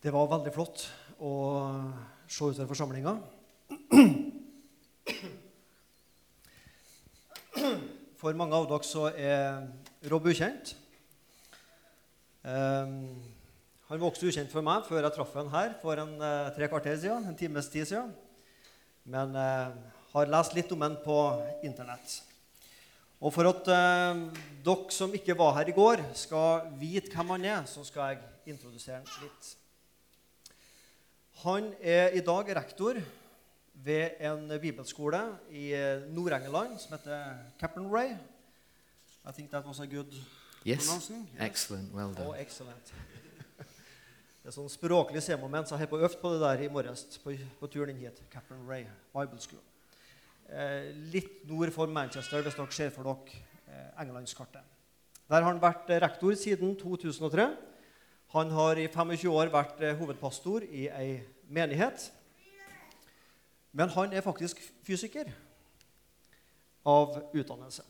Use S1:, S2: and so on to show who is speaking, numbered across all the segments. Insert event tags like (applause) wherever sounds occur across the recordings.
S1: Det var veldig flott å se utover forsamlinga. For mange av dere så er Rob ukjent. Ehm, han var også ukjent for meg før jeg traff han her for en eh, tre kvarter siden. En times tid siden. Men eh, har lest litt om han på Internett. Og for at eh, dere som ikke var her i går, skal vite hvem han er, så skal jeg introdusere han litt. Han er i dag rektor ved en bibelskole i Nord-England som heter Cappenray. I think that was a good
S2: Yes.
S1: pronouncing. Yes.
S2: Excellent. Well
S1: Oh,
S2: done.
S1: excellent. Det er sånn språklig C-moment, så jeg har på øvd på det der i morges på, på turen inn hit. Captain Ray Bible School. Eh, litt nord for Manchester, hvis dere ser for dere eh, Englandskartet. Der har han vært eh, rektor siden 2003. Han har i 25 år vært eh, hovedpastor i ei menighet. Men han er faktisk fysiker av utdannelse.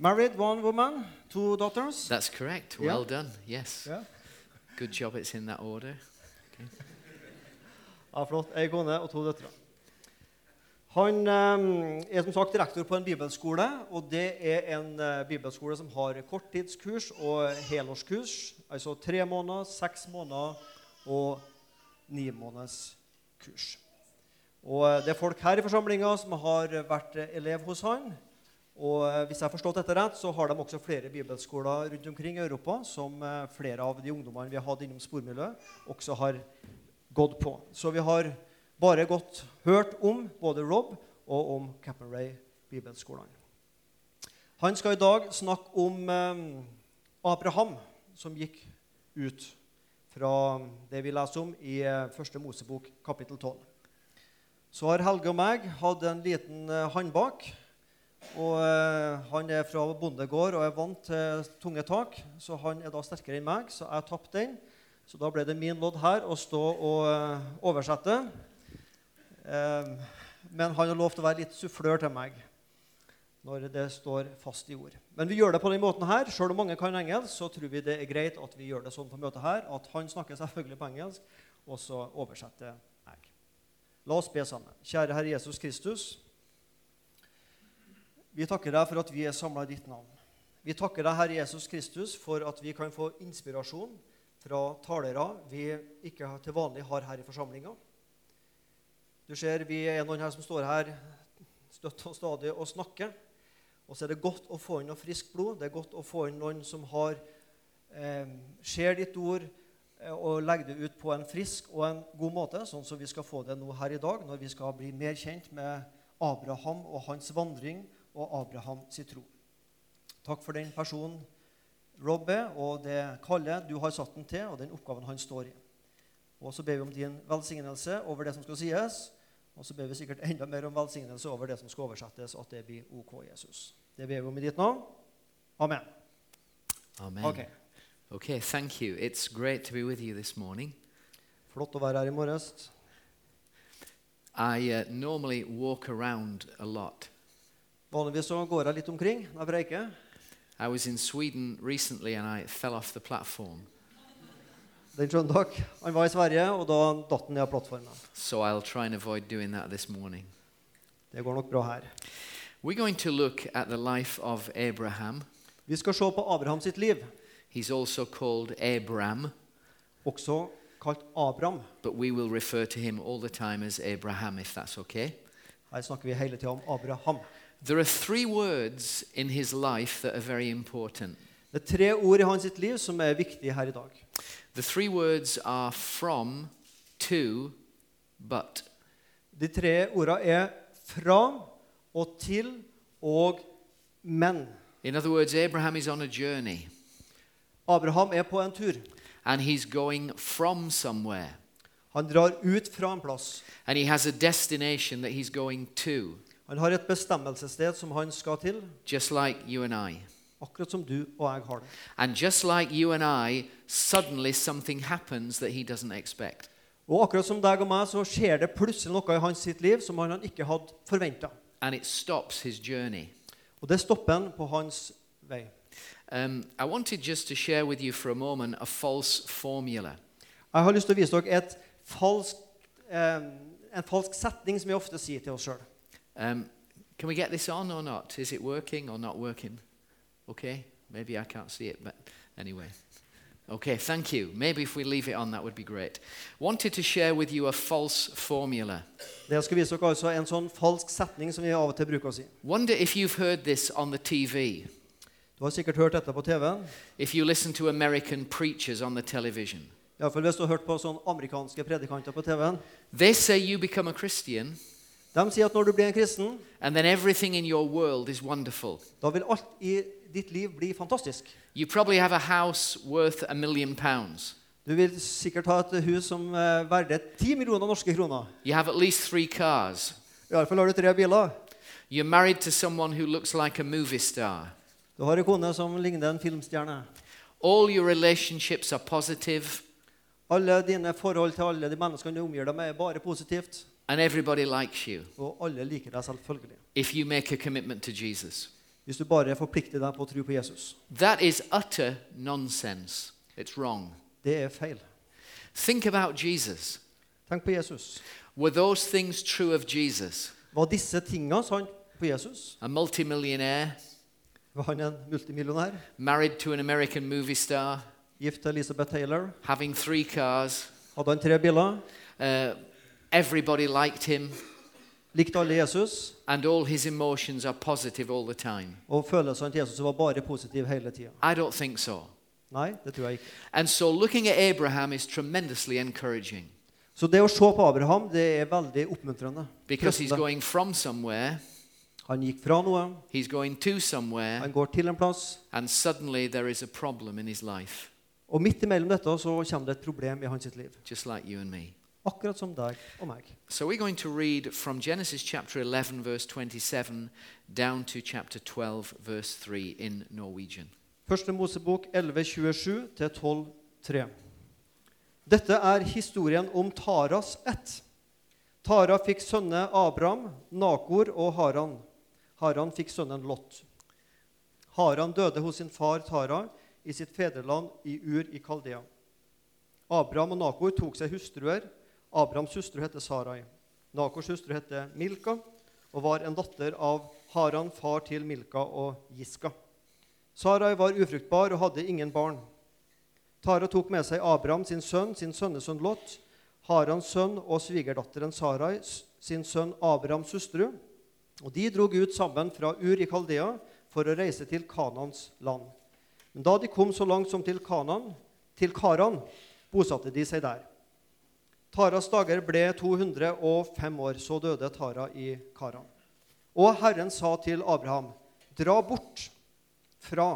S1: Married one woman, two daughters.
S2: That's correct.
S1: Yeah.
S2: Well done. Yes.
S1: Ja.
S2: Good job it's in that order.
S1: Ja, flott. Ei kone og to døtre. Han eh, er som sagt rektor på en bibelskole, og det er en eh, bibelskole som har korttidskurs og helårskurs, altså tre måneder, seks måneder og ni måneders kurs. Og eh, det er folk her i forsamlinga som har vært eh, elev hos han. Og eh, hvis jeg har forstått dette rett, så har de også flere bibelskoler rundt omkring i Europa som eh, flere av de ungdommene vi har hatt innom spormiljøet, også har gått på. Så vi har bare godt hørt om både Rob og om Capperay Bibelskolen. Han skal i dag snakke om eh, Abraham som gikk ut fra det vi leser om i eh, Første Mosebok kapittel 12. Så har Helge og meg hatt en liten eh, håndbak. Og eh, han er fra bondegård og er vant til tunge tak, så han er da sterkere enn meg, så jeg tapte den. Så da ble det min lodd her å stå og eh, oversette. Eh, men han har lovt å være litt sufflør til meg når det står fast i ord. Men vi gjør det på den måten her. Selv om mange kan engelsk, så tror vi det er greit at vi gjør det sånn på møtet her, at han snakker selvfølgelig på engelsk, og så oversetter jeg. La oss be sammen. Kjære Herre Jesus Kristus. Vi takker deg for at vi er samla i ditt navn. Vi takker deg, Herre Jesus Kristus, for at vi kan få inspirasjon fra talere vi ikke har- til vanlig har her i forsamlinga. Du ser vi er noen her som står her støtt og stadig og snakker. Og så er det godt å få inn noe friskt blod. Det er godt å få inn noen som har eh, ser ditt ord eh, og legger det ut på en frisk og en god måte, sånn som vi skal få det nå her i dag, når vi skal bli mer kjent med Abraham og hans vandring og Abraham sin tro. Takk for den personen Robbe og det kallet du har satt den til, og den oppgaven han står i. Og så ber vi om din velsignelse over det som skal sies, og så ber vi sikkert enda mer om velsignelse over det som skal oversettes, at det blir OK, Jesus. Det ber vi om i ditt navn. Amen.
S2: Amen.
S1: Ok.
S2: Okay, thank you. It's great to be with you this morning.
S1: Flott å være her i morges.
S2: I uh, normally walk around a lot.
S1: Vanligvis så går jeg litt omkring når jeg preiker.
S2: I was in Sweden recently and I fell off the platform.
S1: Den søndag han var i Sverige, og da datt han ned av plattformen.
S2: So I'll try and avoid doing that this morning.
S1: Det går nok bra her.
S2: We're going to look at the life of Abraham.
S1: Vi skal se på Abraham sitt liv,
S2: He's also called Abram,
S1: også kalt Abraham.
S2: but we will refer to him all the time as Abraham if that's okay.
S1: Her snakker vi hele tida om Abraham.
S2: There are three words in his life that are very important.
S1: Det er tre ord i hans sitt liv som er viktige her i dag.
S2: The three words are from, to, but.
S1: De tre ordene er fra og til og men.
S2: In other words, Abraham is on a journey
S1: Abraham er på en tur.
S2: and he's going from somewhere
S1: Han drar ut fra en plass.
S2: and he has a destination that he's going to,
S1: Han har et bestemmelsessted som han skal til,
S2: just like you and I.
S1: akkurat som du og jeg har det.
S2: And just like you and I, suddenly something happens that he doesn't expect.
S1: Og akkurat som deg og meg, så skjer det plutselig noe i hans sitt liv som han ikke hadde forventa.
S2: And it stops his journey.
S1: Og det stopper han på hans vei.
S2: um, I wanted just to share with you for a moment a false formula.
S1: Jeg har lyst til å vise dere et falskt, eh, en falsk setning som vi ofte sier til oss sjøl.
S2: Um, can we get this on or not? Is it working or not working? Okay, maybe I can't see it, but anyway. Okay, thank you. Maybe if we leave it on, that would be great. Wanted to share with you a false formula.
S1: Det jeg skal vise dere altså er en sånn falsk setning som vi av og til bruker å si.
S2: Wonder if you've heard this on the TV,
S1: Du har sikkert hørt dette på TV-en.
S2: if you listen to American preachers on the television.
S1: Iallfall hvis du har hørt på sånn amerikanske predikanter på TV-en.
S2: They say you become a Christian,
S1: De sier at når du blir en kristen,
S2: and then everything in your world is wonderful.
S1: da vil alt i ditt liv bli fantastisk.
S2: You probably have a house worth a million pounds.
S1: Du vil sikkert ha et hus som eh, verder 10 millioner norske kroner.
S2: You have at least three cars.
S1: Iallfall har du tre biler.
S2: You're married to someone who looks like a movie star.
S1: Du har ei kone som ligner en filmstjerne.
S2: All your relationships are positive,
S1: Alle dine forhold til alle de menneskene du omgir deg med, er bare positivt.
S2: and everybody likes you
S1: Og alle liker deg selvfølgelig.
S2: if you make a commitment to Jesus.
S1: Hvis du bare forplikter deg på å tro på Jesus.
S2: That is utter nonsense. It's wrong.
S1: Det er feil.
S2: Think about Jesus.
S1: Tenk på Jesus.
S2: Were those things true of Jesus?
S1: Var disse tinga sant på Jesus?
S2: A multimillionaire,
S1: Var han en multimillionær?
S2: married to an American movie star,
S1: Gift til Elizabeth Taylor?
S2: having three cars,
S1: Hadde han tre biler?
S2: uh, everybody liked him,
S1: Likte alle Jesus?
S2: and all his emotions are positive all the time?
S1: Og følelsene til Jesus var bare positive hele tida?
S2: I don't think so.
S1: Nei, det tror jeg ikke.
S2: And so looking at Abraham is tremendously encouraging
S1: Så det å se på Abraham, det er veldig oppmuntrende.
S2: because he's
S1: Trøstende.
S2: going from somewhere,
S1: Han gikk fra noe,
S2: he's going to somewhere,
S1: han går til en plass,
S2: and suddenly there is a problem in his life,
S1: og midt imellom dette så kommer det et problem i hans sitt liv.
S2: just like you and me.
S1: Akkurat som deg og meg.
S2: So we're going to read from Genesis chapter 11, verse 27, down to chapter 12, verse 3 in Norwegian.
S1: Første Mosebok 11.27-12.3. Dette er historien om Taras ett. Tara fikk sønne Abram, Nakor og Haran. Haran fikk sønnen Lot. Haran døde hos sin far Tara i sitt fedreland i Ur i Kaldea. Abram og Nakor tok seg hustruer. Abrams hustru het Sarai. Nakors hustru het Milka og var en datter av Haran, far til Milka og Giska. Sarai var ufruktbar og hadde ingen barn. Tara tok med seg Abraham sin sønn, sin sønnesønn Lot, Harans sønn og svigerdatteren Sarai, s- sin sønn Abrahams hustru, og de drog ut sammen fra Ur i Kaldea for å reise til Kanans land. Men da de kom så langt som til Kanan, til Karan, bosatte de seg der. Taras dager ble 205 år, så døde Tara i Karan. Og Herren sa til Abraham, dra bort fra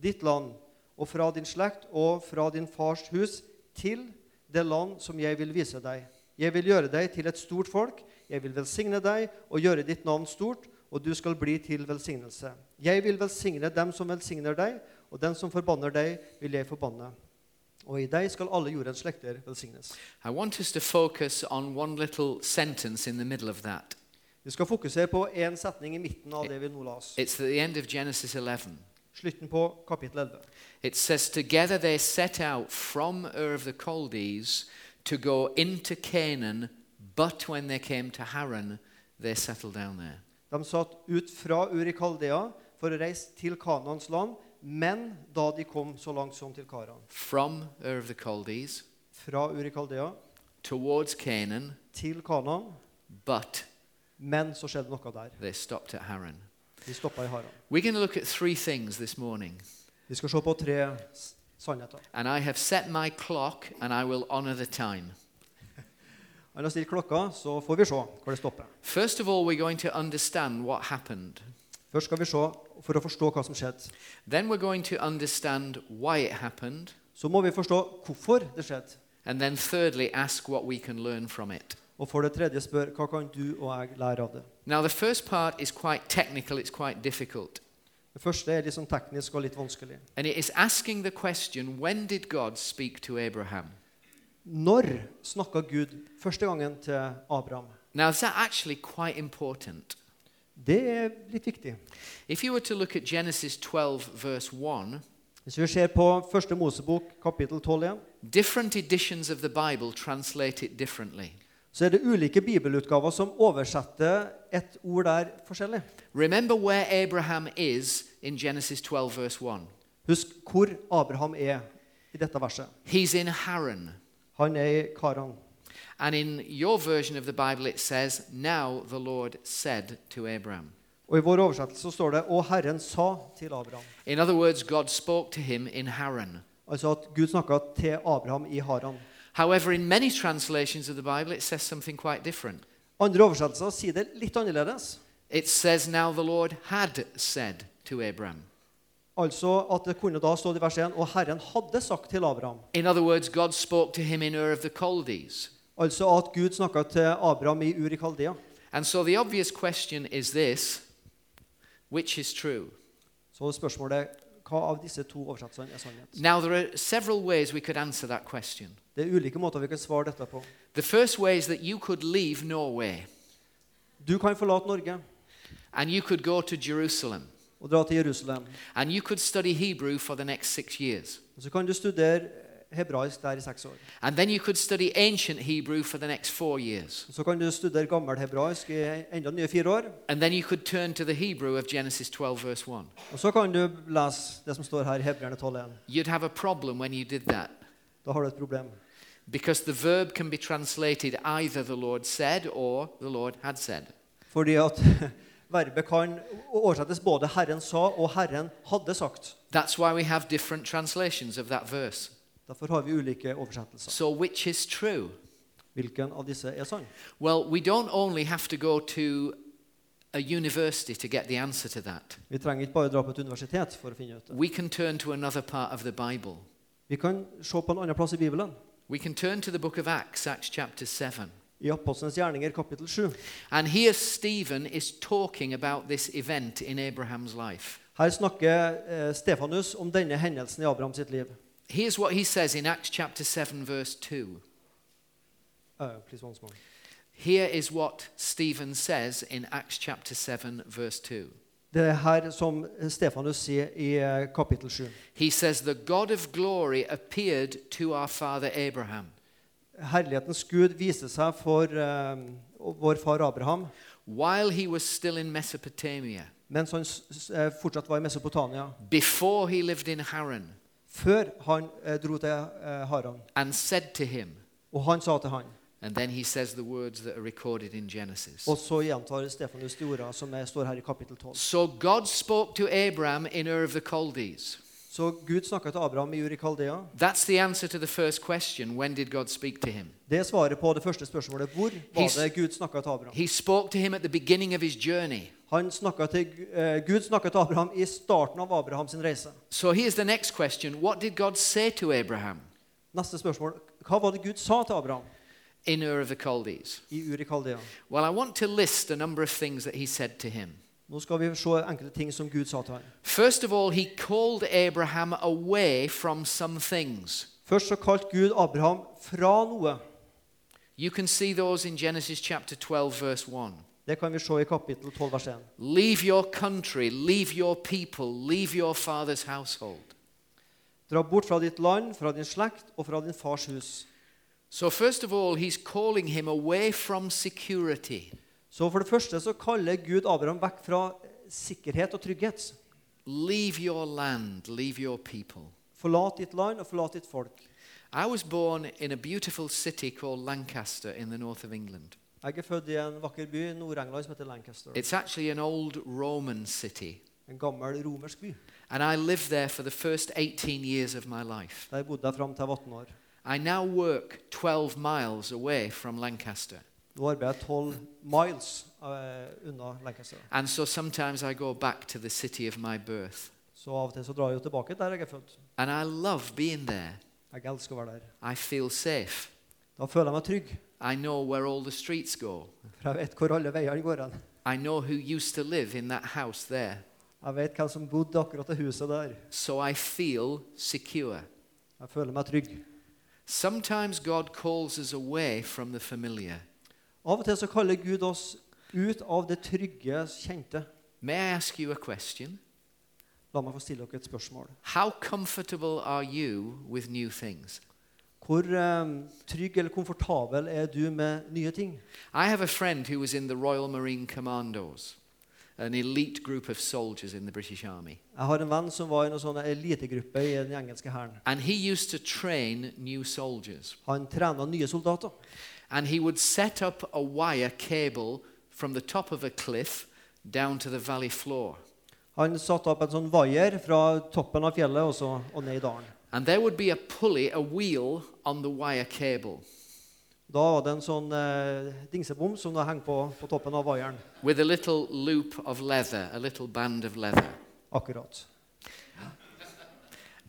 S1: ditt land og fra din slekt og fra din fars hus til det land som jeg vil vise deg. Jeg vil gjøre deg til et stort folk. Jeg vil velsigne deg og gjøre ditt navn stort, og du skal bli til velsignelse. Jeg vil velsigne dem som velsigner deg, og den som forbanner deg, vil jeg forbanne. Og i deg skal alle jordens slekter velsignes.
S2: I want us to focus on one little sentence in the middle of that.
S1: Vi skal fokusere på én setning i midten av det vi nå la oss.
S2: It's at the end of Genesis 11.
S1: Slutten på kapittel 11.
S2: It says, Together they set out from Ur of the Chaldees to go into Canaan, but when they came to Haran, they settled down there.
S1: De satt ut fra Ur i Kaldea for å reise til Kanans land, men da de kom så langt som til Karan.
S2: From Ur of the Chaldees
S1: Fra Ur i Kaldea
S2: towards Canaan,
S1: til Kanan,
S2: but
S1: men så skjedde noe der.
S2: they stopped at Haran.
S1: De stoppa i Haran.
S2: We're going to look at three things this morning,
S1: Vi skal se på tre s- sannheter.
S2: and I have set my clock and I will honor the time.
S1: Han har stilt klokka, så får vi se hvor det stopper.
S2: First of all, we're going to understand what happened.
S1: Først skal vi se for å forstå hva som skjedde.
S2: Then we're going to understand why it happened.
S1: Så må vi forstå hvorfor det skjedde.
S2: And then, thirdly, ask what we can learn from it.
S1: Og for det tredje spør hva kan du og jeg lære av det.
S2: Now, the first part is quite technical, it's quite difficult.
S1: Det første er litt sånn teknisk og litt vanskelig.
S2: And it is asking the question when did God speak to Abraham?
S1: Når snakka Gud første gangen til Abraham?
S2: Now, is that actually quite important?
S1: Det er litt viktig.
S2: If you were to look at Genesis 12, verse 1,
S1: Hvis vi ser på første Mosebok, kapittel 12 igjen,
S2: different editions of the Bible translate it differently.
S1: så er det ulike bibelutgaver som oversetter et ord der forskjellig.
S2: Remember where Abraham is in Genesis 12, verse 1.
S1: Husk hvor Abraham er i dette verset.
S2: He's in Haran.
S1: Han er i Karan.
S2: And in your version of the Bible, it says, Now the Lord said to Abraham.
S1: Og I vår oversettelse så står det 'Og Herren sa til Abraham'.
S2: In other words, God spoke to him in Haran.
S1: Altså at Gud snakka til Abraham i Haran.
S2: However, in many translations of the Bible, it says something quite different.
S1: Andre oversettelser sier det litt annerledes.
S2: It says, Now the Lord had said to Abraham.
S1: Altså at det kunne da stå i vers 1 'Og Herren hadde sagt til Abraham'.
S2: In other words, God spoke to him in Ur of the Chaldees.
S1: Altså at Gud snakka til Abraham i Ur i Kaldea.
S2: And so the obvious question is this which is true?
S1: Så spørsmålet er, hva av disse to oversettelsene er sannhet?
S2: Now, there are several ways we could answer that question.
S1: Det er ulike måter vi kan svare dette på.
S2: The first way is that you could leave Norway
S1: Du kan forlate Norge
S2: and you could go to Jerusalem
S1: og dra til Jerusalem.
S2: and you could study Hebrew for the next six years.
S1: Og så kan du studere hebraisk der i seks år.
S2: And then you could study ancient Hebrew for the next four years.
S1: Så kan du studere gammel hebraisk i enda nye fire år.
S2: And then you could turn to the Hebrew of Genesis 12, verse 1.
S1: Og så kan du lese det som står her i Hebreerne 12.1.
S2: You'd have a problem when you did that
S1: Da har du et problem.
S2: because the verb can be translated either the Lord said or the Lord had said.
S1: Fordi at (laughs) verbet kan oversettes både 'Herren sa' og 'Herren hadde sagt'.
S2: That's why we have different translations of that verse.
S1: Derfor har vi ulike oversettelser.
S2: So, which is true?
S1: Hvilken av disse er sann?
S2: Well, we don't only have to go to a university to get the answer to that.
S1: Vi trenger ikke bare dra på et universitet for å finne ut det.
S2: We can turn to another part of the Bible.
S1: Vi kan se på en annen plass i Bibelen.
S2: We can turn to the book of Acts, Acts chapter 7.
S1: I Apostelens gjerninger kapittel 7.
S2: And here Stephen is talking about this event in Abraham's life.
S1: Her snakker eh, Stefanus om denne hendelsen i Abraham sitt liv.
S2: Here's what he says in Acts chapter 7, verse 2.
S1: Uh, please once more.
S2: Here is what Stephen says in Acts chapter 7, verse 2.
S1: Det er her som Stefanus sier i eh, kapittel 7.
S2: He says, The God of glory appeared to our father Abraham.
S1: Herlighetens Gud viste seg for eh, vår far Abraham
S2: while he was still in Mesopotamia,
S1: mens han s- s- eh, fortsatt var i Mesopotamia,
S2: before he lived in Haran,
S1: før han eh, dro til eh, Haran.
S2: and said to him,
S1: Og han sa til han.
S2: and then he says the words that are recorded in Genesis.
S1: Og så gjentar Stefanus de ordene som er, står her i kapittel 12.
S2: So God spoke to Abraham in Ur of the Chaldees.
S1: Så Gud snakka til Abraham i Uri Kaldea.
S2: That's the answer to the first question when did God speak to him?
S1: Det er svaret på det første spørsmålet. Hvor var
S2: He's-
S1: det Gud snakka til Abraham?
S2: He spoke to him at the beginning of his journey.
S1: Han snakket til, eh, Gud snakka til Abraham i starten av Abrahams reise.
S2: So here's the next question What did God say to Abraham
S1: Neste spørsmål. Hva var det Gud sa til Abraham
S2: in Ur of the Chaldees?
S1: i Uri Kaldea?
S2: Well, I want to list a number of things that he said to him.
S1: Nå skal vi se enkelte ting som Gud sa til ham.
S2: First of all, he called Abraham away from some things.
S1: Først så kalte Gud Abraham fra noe.
S2: You can see those in Genesis chapter 12, verse 1.
S1: Det kan vi se i kapittel 12, vers 1.
S2: Leave your country, leave your people, leave your father's household.
S1: Dra bort fra ditt land, fra din slekt og fra din fars hus.
S2: So, first of all, he's calling him away from security.
S1: Så for det første så kaller Gud Abraham vekk fra sikkerhet og trygghet.
S2: Leave your land, leave your people.
S1: Forlat ditt land og forlat ditt folk.
S2: I was born in a beautiful city called Lancaster in the north of England.
S1: Jeg er født i en vakker by i Nord-England som heter Lancaster.
S2: It's actually an old Roman city,
S1: En gammel romersk by.
S2: and I lived there for the first 18 years of my life.
S1: Der bodde jeg fram til jeg var 18 år.
S2: I now work 12 miles away from Lancaster.
S1: Nå arbeider jeg 12 miles eh, unna Lancaster.
S2: And so sometimes I go back to the city of my birth.
S1: Så av og til så drar jeg jo tilbake der jeg er født.
S2: And I love being there.
S1: Jeg elsker å være der.
S2: I feel safe.
S1: Da føler jeg meg trygg,
S2: I know where all the streets go.
S1: for jeg vet hvor alle veiene går hen.
S2: I know who used to live in that house there.
S1: Jeg vet hvem som bodde akkurat i huset der.
S2: So I feel secure.
S1: Jeg føler meg trygg.
S2: Sometimes God calls us away from the familiar.
S1: Av og til så kaller Gud oss Ut av det trygge, kjente.
S2: May I ask you a question?
S1: La meg få stille dere et spørsmål.
S2: How comfortable are you with new things?
S1: Hvor eh, trygg eller komfortabel er du med nye ting?
S2: I have a friend who was in the Royal Marine Commandos, an elite group of soldiers in the British Army.
S1: Jeg har en venn som var i en sånn elitegruppe i den engelske hæren.
S2: And he used to train new soldiers.
S1: Han trena nye soldater.
S2: And he would set up a wire cable from the top of a cliff down to the valley floor.
S1: Han satte opp en sånn vaier fra toppen av fjellet og, så, og ned i dalen.
S2: And there would be a pulley, a wheel on the wire cable
S1: Da var det en sånn eh, dingsebom som da hang på, på toppen av vaieren.
S2: with a little loop of leather, a little band of leather.
S1: Akkurat.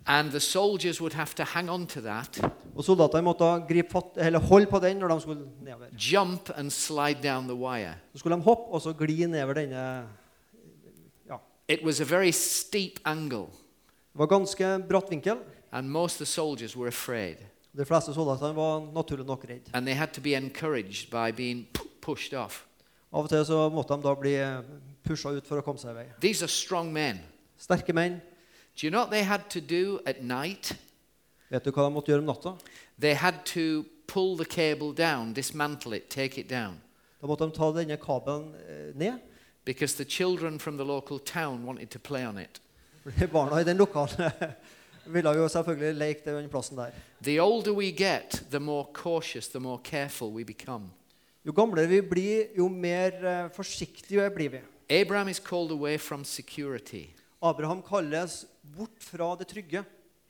S2: And the soldiers would have to hang on to that,
S1: Og soldatene måtte gripe fatt, eller holde på den når de skulle nedover.
S2: jump and slide down the wire.
S1: Så skulle de hoppe og så gli nedover denne Ja.
S2: It was a very steep angle,
S1: Det var ganske bratt vinkel.
S2: and most of the soldiers were afraid.
S1: De fleste soldatene var naturlig nok redd.
S2: And they had to be encouraged by being pu- pushed off.
S1: Av og til så måtte de da bli pusha ut for å komme seg i vei.
S2: These are strong men.
S1: Sterke menn.
S2: Do you know what they had to do at night?
S1: Vet du hva de måtte gjøre om natta?
S2: They had to pull the cable down, dismantle it, take it down.
S1: Da måtte de ta denne kabelen eh, ned.
S2: because the children from the local town wanted to play on it.
S1: Fordi Barna i den lokale ville jo selvfølgelig leke den plassen der.
S2: The older we get, the more cautious, the more careful we become.
S1: Jo gamlere vi blir, jo mer eh, forsiktige blir vi.
S2: Abraham is called away from security.
S1: Abraham kalles bort fra det trygge.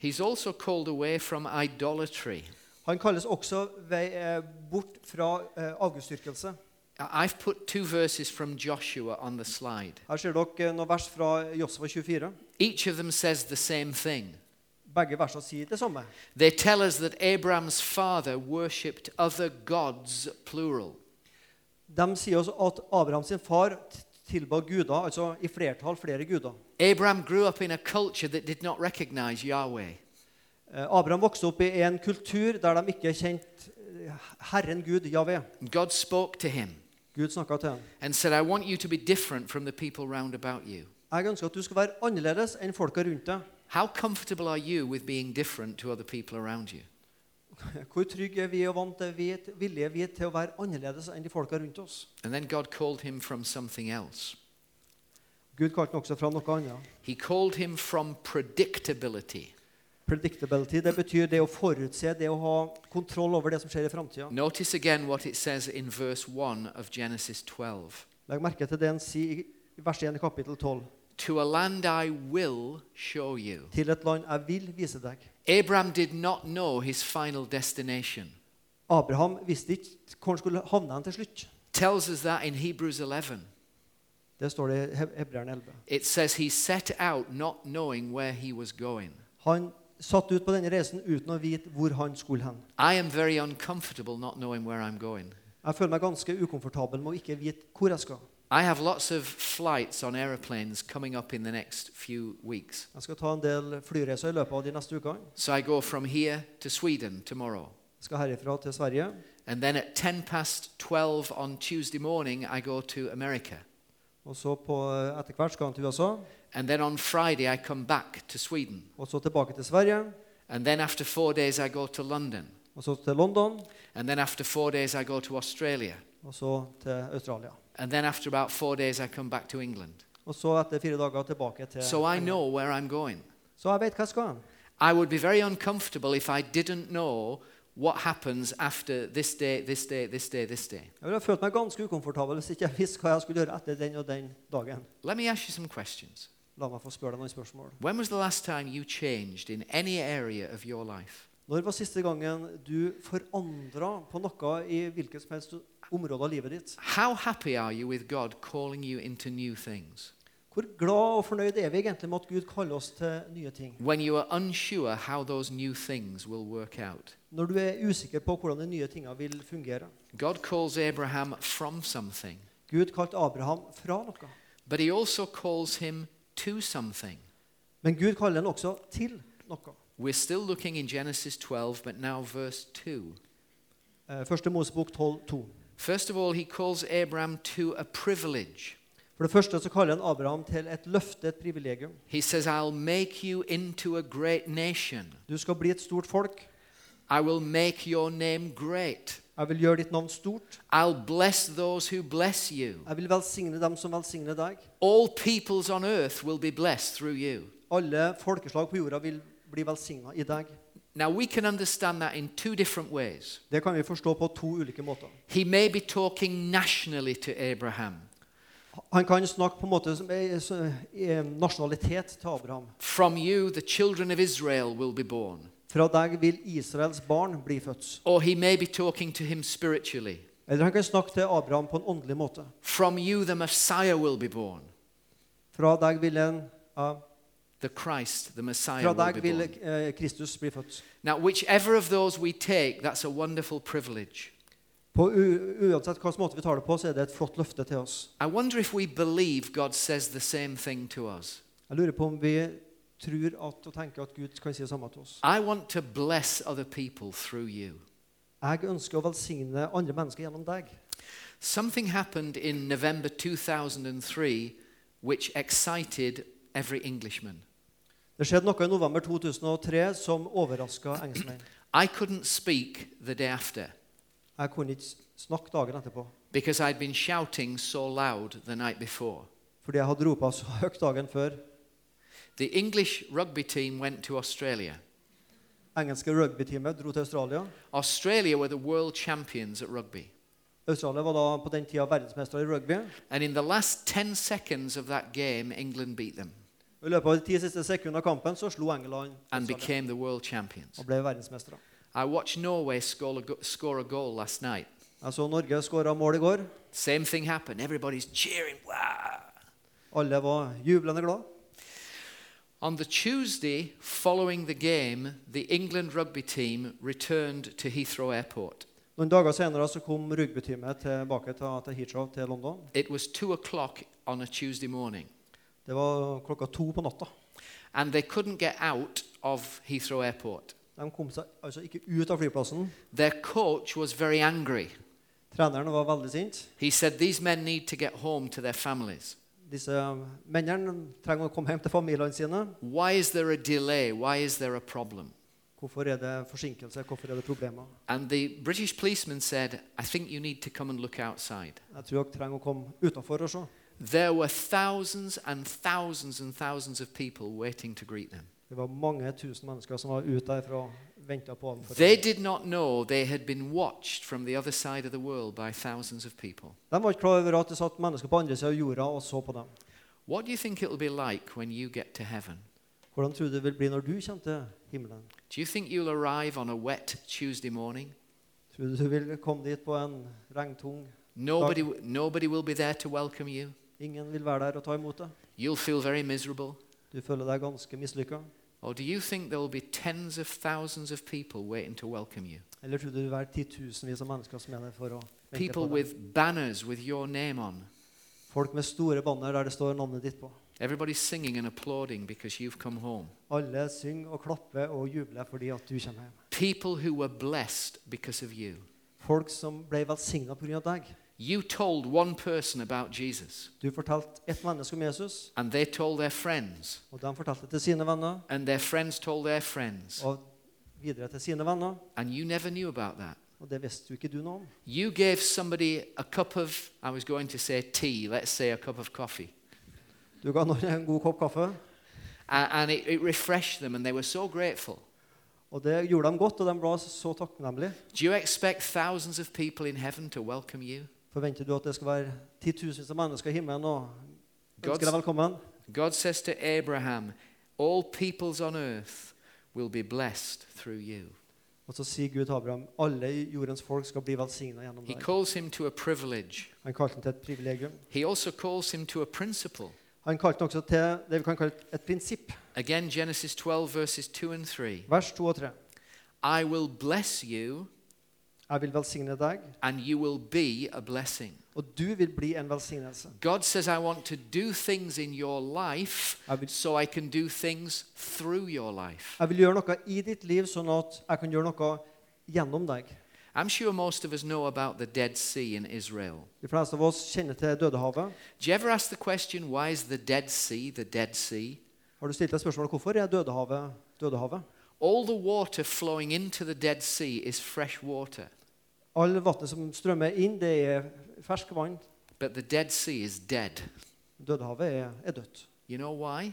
S2: He's also called away from idolatry.
S1: Han kalles også vei, eh, bort fra eh, avgudsdyrkelse.
S2: I- I've put two verses from Joshua on the slide.
S1: Her ser dere eh, noen vers fra Josva 24.
S2: Each of them says the same thing.
S1: Begge versene sier det samme.
S2: They tell us that Abraham's father worshipped other gods, plural.
S1: De sier også at Abraham sin far t- tilba guder, altså i flertall flere guder.
S2: Abraham grew up in a culture that did not recognize Yahweh.
S1: Eh, Abraham vokste opp i en kultur der de ikke kjente eh, Herren Gud, Javé.
S2: God spoke to him.
S1: Gud snakka til ham.
S2: and said, I want you to be different from the people round about you.
S1: Jeg ønsker at du skal være annerledes enn folka rundt deg.
S2: How comfortable are you with being different to other people around you?
S1: Hvor trygge er vi og vant er vi, villige er vi til å være annerledes enn de folka rundt oss?
S2: And then God called him from something else.
S1: Gud kalte ham også fra noe annet.
S2: He called him from predictability.
S1: Predictability, det betyr det å forutse, det å ha kontroll over det som skjer i framtida.
S2: Notice again what it says in verse 1 of Genesis 12
S1: Legg merke til det han sier i- i vers 1 i kapittel 12.
S2: To a land I will show you.
S1: Til et land jeg vil vise deg.
S2: Abraham did not know his final destination.
S1: Abraham visste ikke hvor han skulle havne hen til slutt.
S2: Tells us that in Hebrews 11.
S1: Det står det i He- Hebreerne 11.
S2: It says he set out not knowing where he was going.
S1: Han satt ut på denne reisen uten å vite hvor han skulle hen.
S2: I am very uncomfortable not knowing where I'm going.
S1: Jeg føler meg ganske ukomfortabel med å ikke vite hvor jeg skal.
S2: I have lots of flights on aeroplanes coming up in the next few weeks.
S1: Jeg skal ta en del flyreiser i løpet av de neste ukene.
S2: So I go from here to Sweden tomorrow.
S1: Jeg skal herifra til Sverige.
S2: And then at 10 past 12 on Tuesday morning, I go to America.
S1: Og så på etter hvert skal han til USA.
S2: And then on Friday, I come back to Sweden.
S1: Og så tilbake til Sverige.
S2: And then after four days, I go to London.
S1: Og så til London.
S2: And then after four days, I go to Australia.
S1: Og så til Australia.
S2: And then after about four days, I come back to England.
S1: Og så etter fire dager tilbake til
S2: So I
S1: England.
S2: know where I'm going.
S1: Så jeg vet hva jeg skal hen.
S2: I would be very uncomfortable if I didn't know what happens after this day, this day, this day, this day.
S1: Jeg ville følt meg ganske ukomfortabel hvis ikke jeg visste hva jeg skulle gjøre etter den og den dagen.
S2: Let me ask you some questions.
S1: La meg få spørre deg noen spørsmål.
S2: When was the last time you changed in any area of your life?
S1: Når var siste gangen du forandra på noe i hvilket som helst område av livet ditt?
S2: How happy are you with God calling you into new things?
S1: Hvor glad og fornøyd er vi egentlig med at Gud kaller oss til nye ting?
S2: When you are unsure how those new things will work out,
S1: Når du er usikker på hvordan de nye tingene vil fungere?
S2: God calls Abraham from something,
S1: Gud kalte Abraham fra noe,
S2: but he also calls him to something.
S1: men Gud kaller han også til noe.
S2: We're still looking in Genesis 12, but now verse 2.
S1: Eh, Første Mosebok 12,2.
S2: First of all, he calls Abraham to a privilege.
S1: For det første så kaller han Abraham til et løfte, et privilegium.
S2: He says, I'll make you into a great nation.
S1: Du skal bli et stort folk.
S2: I will make your name great.
S1: Jeg vil gjøre ditt navn stort.
S2: I'll bless those who bless you.
S1: Jeg vil velsigne dem som velsigner deg.
S2: All peoples on earth will be blessed through you.
S1: Alle folkeslag på jorda vil bli velsigna i deg.
S2: Now, we can understand that in two different ways.
S1: Det kan vi forstå på to ulike måter.
S2: He may be talking nationally to Abraham
S1: Han kan snakke på en måte som er, så- er nasjonalitet til Abraham.
S2: From you, the children of Israel will be born.
S1: Fra deg vil Israels barn bli født.
S2: Or he may be talking to him spiritually.
S1: Eller han kan snakke til Abraham på en åndelig måte.
S2: From you, the Messiah will be born.
S1: Fra deg vil, en, ja,
S2: The Christ, the Messiah,
S1: fra
S2: will
S1: deg
S2: be
S1: vil
S2: born.
S1: eh, Kristus bli født.
S2: Now, whichever of those we take, that's a wonderful privilege.
S1: På u uansett hvilken måte vi tar det på, så er det et flott løfte til oss.
S2: I wonder if we believe God says the same thing to us.
S1: Jeg lurer på om vi tror at, og tenker at Gud kan si det samme til oss.
S2: I want to bless other people through you.
S1: Jeg ønsker å velsigne andre mennesker gjennom deg.
S2: Something happened in November 2003 which excited every Englishman.
S1: Det skjedde noe i november 2003 som overraska engelskmenn.
S2: I couldn't speak the day after
S1: Jeg kunne ikke snakke dagen etterpå.
S2: because I'd been shouting so loud the night before.
S1: Fordi jeg hadde ropa så høyt dagen før.
S2: The English rugby team went to Australia.
S1: Engelske rugbyteamet dro til Australia.
S2: Australia were the world champions at rugby.
S1: Australia var da på den tida verdensmester i rugby.
S2: And in the last 10 seconds of that game, England beat them
S1: I løpet av de ti siste sekundene av kampen så slo England
S2: and
S1: Australia
S2: became the world champions.
S1: og ble verdensmestere.
S2: I watched Norway score a, go- score a goal last night.
S1: Jeg så Norge skåra mål i går.
S2: Same thing happened. Everybody's cheering. Wow.
S1: Alle var jublende glad.
S2: On the Tuesday following the game, the England rugby team returned to Heathrow Airport.
S1: Noen dager senere så kom rugbyteamet tilbake til, til Heathrow til London.
S2: It was two o'clock on a Tuesday morning,
S1: Det var klokka to på natta.
S2: and they couldn't get out of Heathrow Airport.
S1: De kom seg altså ikke ut av flyplassen.
S2: Their coach was very angry.
S1: Treneren var veldig sint.
S2: He said, These men need to get home to their families.
S1: Disse mennene trenger å komme hjem til familiene sine.
S2: Why is there a delay? Why is there a problem?
S1: Hvorfor er det forsinkelse? Hvorfor er det problemer?
S2: And the British policeman said, I think you need to come and look outside.
S1: Jeg tror dere trenger å komme utenfor og se.
S2: There were thousands and thousands and thousands of people waiting to greet them.
S1: Det var mange tusen mennesker som var ute derfra og venta på ham.
S2: They did not know they had been watched from the other side of the world by thousands of people.
S1: De var ikke klar over at det satt mennesker på andre sida av jorda og så på dem.
S2: What do you think it'll be like when you get to heaven?
S1: Hvordan tror du det vil bli når du kommer til himmelen?
S2: Do you think you'll arrive on a wet Tuesday morning?
S1: Tror du du vil komme dit på en regntung
S2: Nobody, w- nobody will be there to welcome you.
S1: Ingen vil være der og ta imot deg.
S2: You'll feel very miserable.
S1: Du føler deg ganske mislykka.
S2: Or do you think there will be tens of thousands of people waiting to welcome you?
S1: Eller tror du det vil være titusenvis av mennesker som er der for å vente på
S2: People
S1: deg?
S2: with banners with your name on.
S1: Folk med store banner der det står navnet ditt på.
S2: Everybody's singing and applauding because you've come home.
S1: Alle synger og klapper og jubler fordi at du kommer hjem.
S2: People who were blessed because of you.
S1: Folk som ble velsigna pga. deg.
S2: You told one person about Jesus,
S1: Du fortalte ett menneske om Jesus,
S2: and they told their friends,
S1: og de fortalte til sine venner,
S2: and their friends told their friends,
S1: og videre til sine venner.
S2: and you never knew about that.
S1: Og det visste jo ikke du noe om.
S2: You gave somebody a cup of, I was going to say tea, let's say a cup of coffee,
S1: Du ga noen en god kopp kaffe,
S2: and, and it, it refreshed them, and they were so grateful.
S1: og det gjorde dem godt, og de ble så takknemlige.
S2: Do you expect thousands of people in heaven to welcome you?
S1: Forventer du at det skal være titusenvis av mennesker i himmelen og ønsker
S2: God's-
S1: deg velkommen?
S2: God says to Abraham, All peoples on earth will be blessed through you.
S1: Og så sier Gud til Abraham alle jordens folk skal bli velsigna gjennom
S2: He
S1: deg.
S2: calls him to a privilege.
S1: Han kalte den til et privilegium.
S2: He also calls him to a principle.
S1: Han kalte den også til det vi kan kalle et prinsipp.
S2: Again, Genesis 12, verses 2 and 3.
S1: Vers 2 og 3.
S2: I will bless you,
S1: Jeg vil velsigne deg,
S2: and you will be a blessing.
S1: og du vil bli en velsignelse.
S2: God says, I want to do things in your life
S1: Jeg vil,
S2: so I can do things through your life.
S1: jeg vil gjøre noe i ditt liv, sånn at jeg kan gjøre noe gjennom deg.
S2: I'm sure most of us know about the Dead Sea in Israel.
S1: De fleste av oss kjenner til Dødehavet.
S2: Do you ever ask the question, why is the Dead Sea the Dead Sea?
S1: Har du stilt deg spørsmålet hvorfor er Dødehavet Dødehavet?
S2: All the water flowing into the Dead Sea is fresh water,
S1: All vannet som strømmer inn, det er fersk vann.
S2: but the Dead Sea is dead.
S1: Dødehavet er, er dødt.
S2: You know why?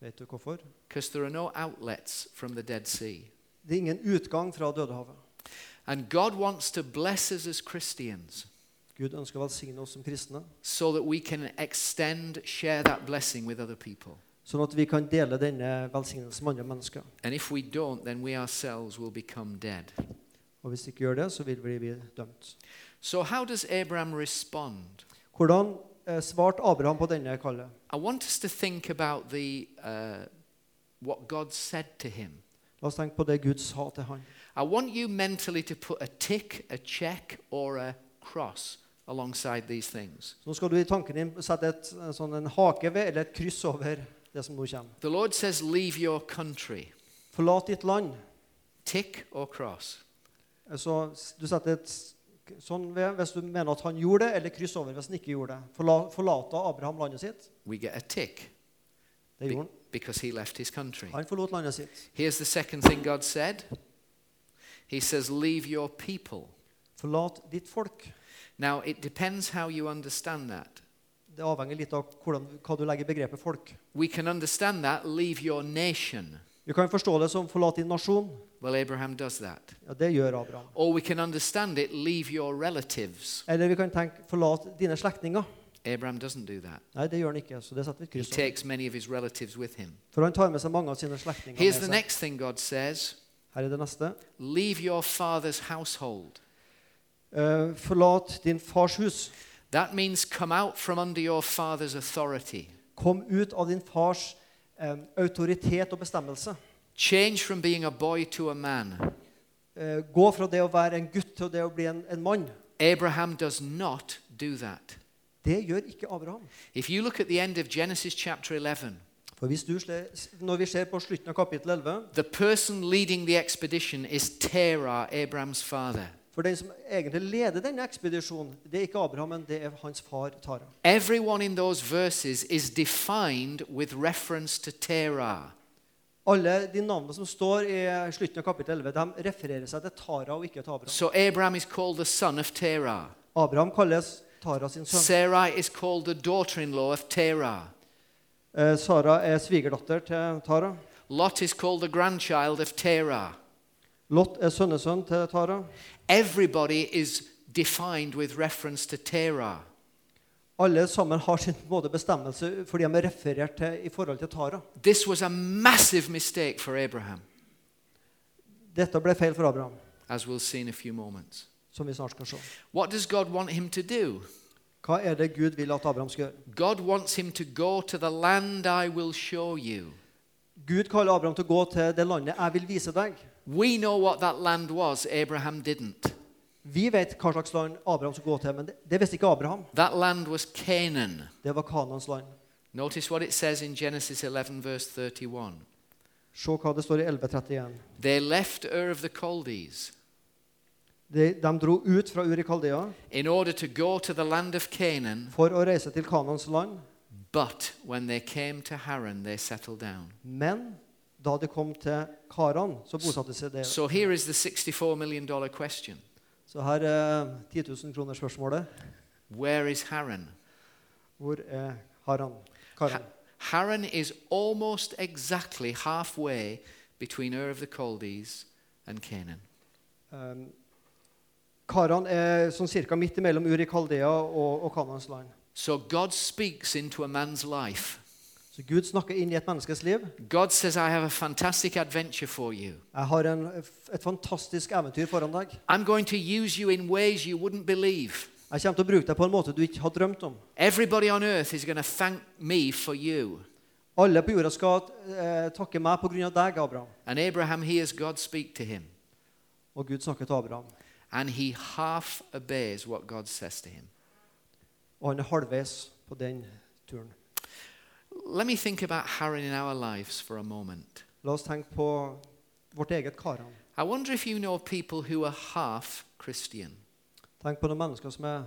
S1: Vet du hvorfor?
S2: Because there are no outlets from the Dead Sea.
S1: Det er ingen utgang fra Dødehavet.
S2: And God wants to bless us as Christians
S1: Gud ønsker å velsigne oss som kristne,
S2: so that we can extend, share that blessing with other people.
S1: sånn at vi kan dele denne velsignelsen med andre mennesker.
S2: And if we don't, then we ourselves will become dead.
S1: Og hvis vi ikke gjør det, så vil vi bli dømt.
S2: So, how does Abraham respond?
S1: Hvordan eh, svarte Abraham på denne kallet?
S2: I want us to think about the, uh, what God said to him.
S1: La oss tenke på det Gud sa til han.
S2: I want you mentally to put a tick, a check, or a cross alongside these things.
S1: Så nå skal du i tanken din sette et, eh, sånn en hake ved, eller et kryss over det som nå kommer.
S2: The Lord says, Leave your country.
S1: Forlat ditt land.
S2: Tick or cross?
S1: Eh, Så s- du setter et s- k- sånn ved hvis du mener at han gjorde det, eller kryss over hvis han ikke gjorde det. Forla, forlata Abraham landet sitt?
S2: We get a tick
S1: Det
S2: be-
S1: gjorde han.
S2: because he left his country.
S1: Han forlot landet sitt.
S2: Here's the second thing God said He says, Leave your people.
S1: Forlat ditt folk.
S2: Now, it depends how you understand that.
S1: Det avhenger litt av hvordan, hva du legger i begrepet folk.
S2: We can understand that, leave your nation.
S1: Vi kan forstå det som 'forlat din nasjon'.
S2: Well, Abraham does that.
S1: Ja, Det gjør Abraham.
S2: Or we can understand it, leave your relatives.
S1: Eller vi kan tenke 'forlat dine slektninger'.
S2: Abraham doesn't do that.
S1: Nei, det gjør han ikke. så det setter vi et
S2: He
S1: kryss over.
S2: takes many of his relatives with him.
S1: For han tar med seg mange av sine slektninger.
S2: Here's
S1: Med
S2: the
S1: seg.
S2: next thing God says
S1: Her er det neste.
S2: leave your father's household.
S1: Eh, forlat din fars hus.
S2: That means come out from under your father's authority.
S1: Kom ut av din fars eh, autoritet og bestemmelse.
S2: Change from being a boy to a man.
S1: Eh, gå fra det å være en gutt til det å bli en, en mann.
S2: Abraham does not do that.
S1: Det gjør ikke Abraham.
S2: If you look at the end of Genesis chapter 11,
S1: For hvis du, sle- Når vi ser på slutten av kapittel 11
S2: the person leading the expedition is Terah, Abraham's father.
S1: For den som egentlig leder denne ekspedisjonen, det er ikke Abraham, men det er hans far Tara.
S2: Everyone in those verses is defined with reference to Terah.
S1: Alle de navnene som står i slutten av kapittel 11, de refererer seg til Tara og ikke til Abraham.
S2: So Abraham is called the son of Terah.
S1: Abraham kalles Tara sin sønn.
S2: Sarai is called the daughter in law of Terah.
S1: Eh, Sara er svigerdatter til Tara.
S2: Lot is called the grandchild of Terah.
S1: Lot er sønnesønn til Tara.
S2: Everybody is defined with reference to Terah.
S1: Alle sammen har sin måte bestemmelse fordi de er referert til i forhold til Tara.
S2: This was a massive mistake for Abraham,
S1: Dette ble feil for Abraham,
S2: as we'll see in a few moments.
S1: som vi snart skal se.
S2: What does God want him to do?
S1: Hva er det Gud vil at Abraham skal gjøre?
S2: God wants him to go to the land I will show you.
S1: Gud kaller Abraham til å gå til det landet jeg vil vise deg.
S2: We know what that land was, Abraham didn't.
S1: Vi vet hva slags land Abraham skal gå til, men det, det visste ikke Abraham.
S2: That land was Canaan.
S1: Det var Kanans land.
S2: Notice what it says in Genesis 11, verse 31.
S1: Se hva det står i 1131.
S2: They left Ur of the Chaldees
S1: De, de dro ut fra Uri Kaldea
S2: in order to go to the land of Canaan,
S1: for å reise til Kanans land,
S2: but when they came to Haran, they settled down.
S1: men da de kom til Karan, så bosatte de seg der.
S2: So here is the $64 million question
S1: Så her er 10 000 kroner spørsmålet.
S2: Where is Haran?
S1: Hvor er Haran? Karan.
S2: Haran is almost exactly halfway between Ur of the Chaldees and Canaan.
S1: Um, Karan er sånn cirka midt imellom Uri Kaldea og, og Kanans land.
S2: So God speaks into a man's life.
S1: Så Gud snakker inn i et menneskes liv.
S2: God says, I have a fantastic adventure for you.
S1: Jeg har en, et fantastisk eventyr foran deg.
S2: I'm going to use you in ways you wouldn't believe.
S1: Jeg kommer til å bruke deg på en måte du ikke har drømt om.
S2: Everybody on earth is going to thank me for you.
S1: Alle på jorda skal eh, takke meg pga. deg, Abraham.
S2: And Abraham hears God speak to him,
S1: Og Gud snakker til Abraham.
S2: and he half obeys what God says to him.
S1: Og han er halvveis på den turen.
S2: Let me think about Haran in our lives for a moment.
S1: La oss tenke på vårt eget Karan.
S2: I wonder if you know people who are half Christian.
S1: Tenk på noen mennesker som er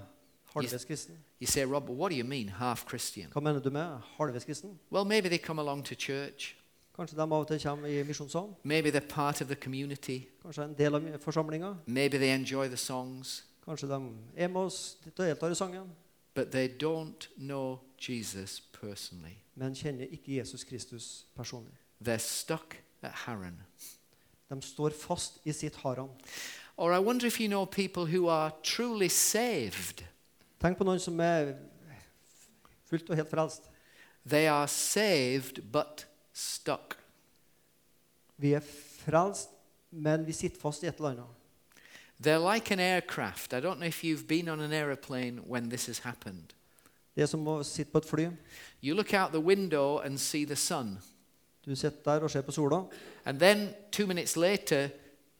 S1: halvveis kristne.
S2: You say, Rob, what do you mean, half Christian?
S1: Hva mener du med halvveis kristen?
S2: Well, maybe they come along to church.
S1: Kanskje de av og til kommer i misjonssalen?
S2: Maybe they're part of the community.
S1: Kanskje er en del av forsamlinga?
S2: Maybe they enjoy the songs.
S1: Kanskje de er med oss og deltar i sangen?
S2: But they don't know Jesus personally.
S1: Men kjenner ikke Jesus Kristus personlig.
S2: They're stuck at Haran.
S1: De står fast i sitt haran.
S2: Or I wonder if you know people who are truly saved.
S1: Tenk på noen som er fullt og helt frelst.
S2: They are saved but stuck.
S1: Vi er frelst, men vi sitter fast i et eller annet.
S2: They're like an aircraft. I don't know if you've been on an aeroplane when this has happened.
S1: Det er som å sitte på et fly.
S2: You look out the window and see the sun.
S1: Du sitter der og ser på sola,
S2: And then two minutes later,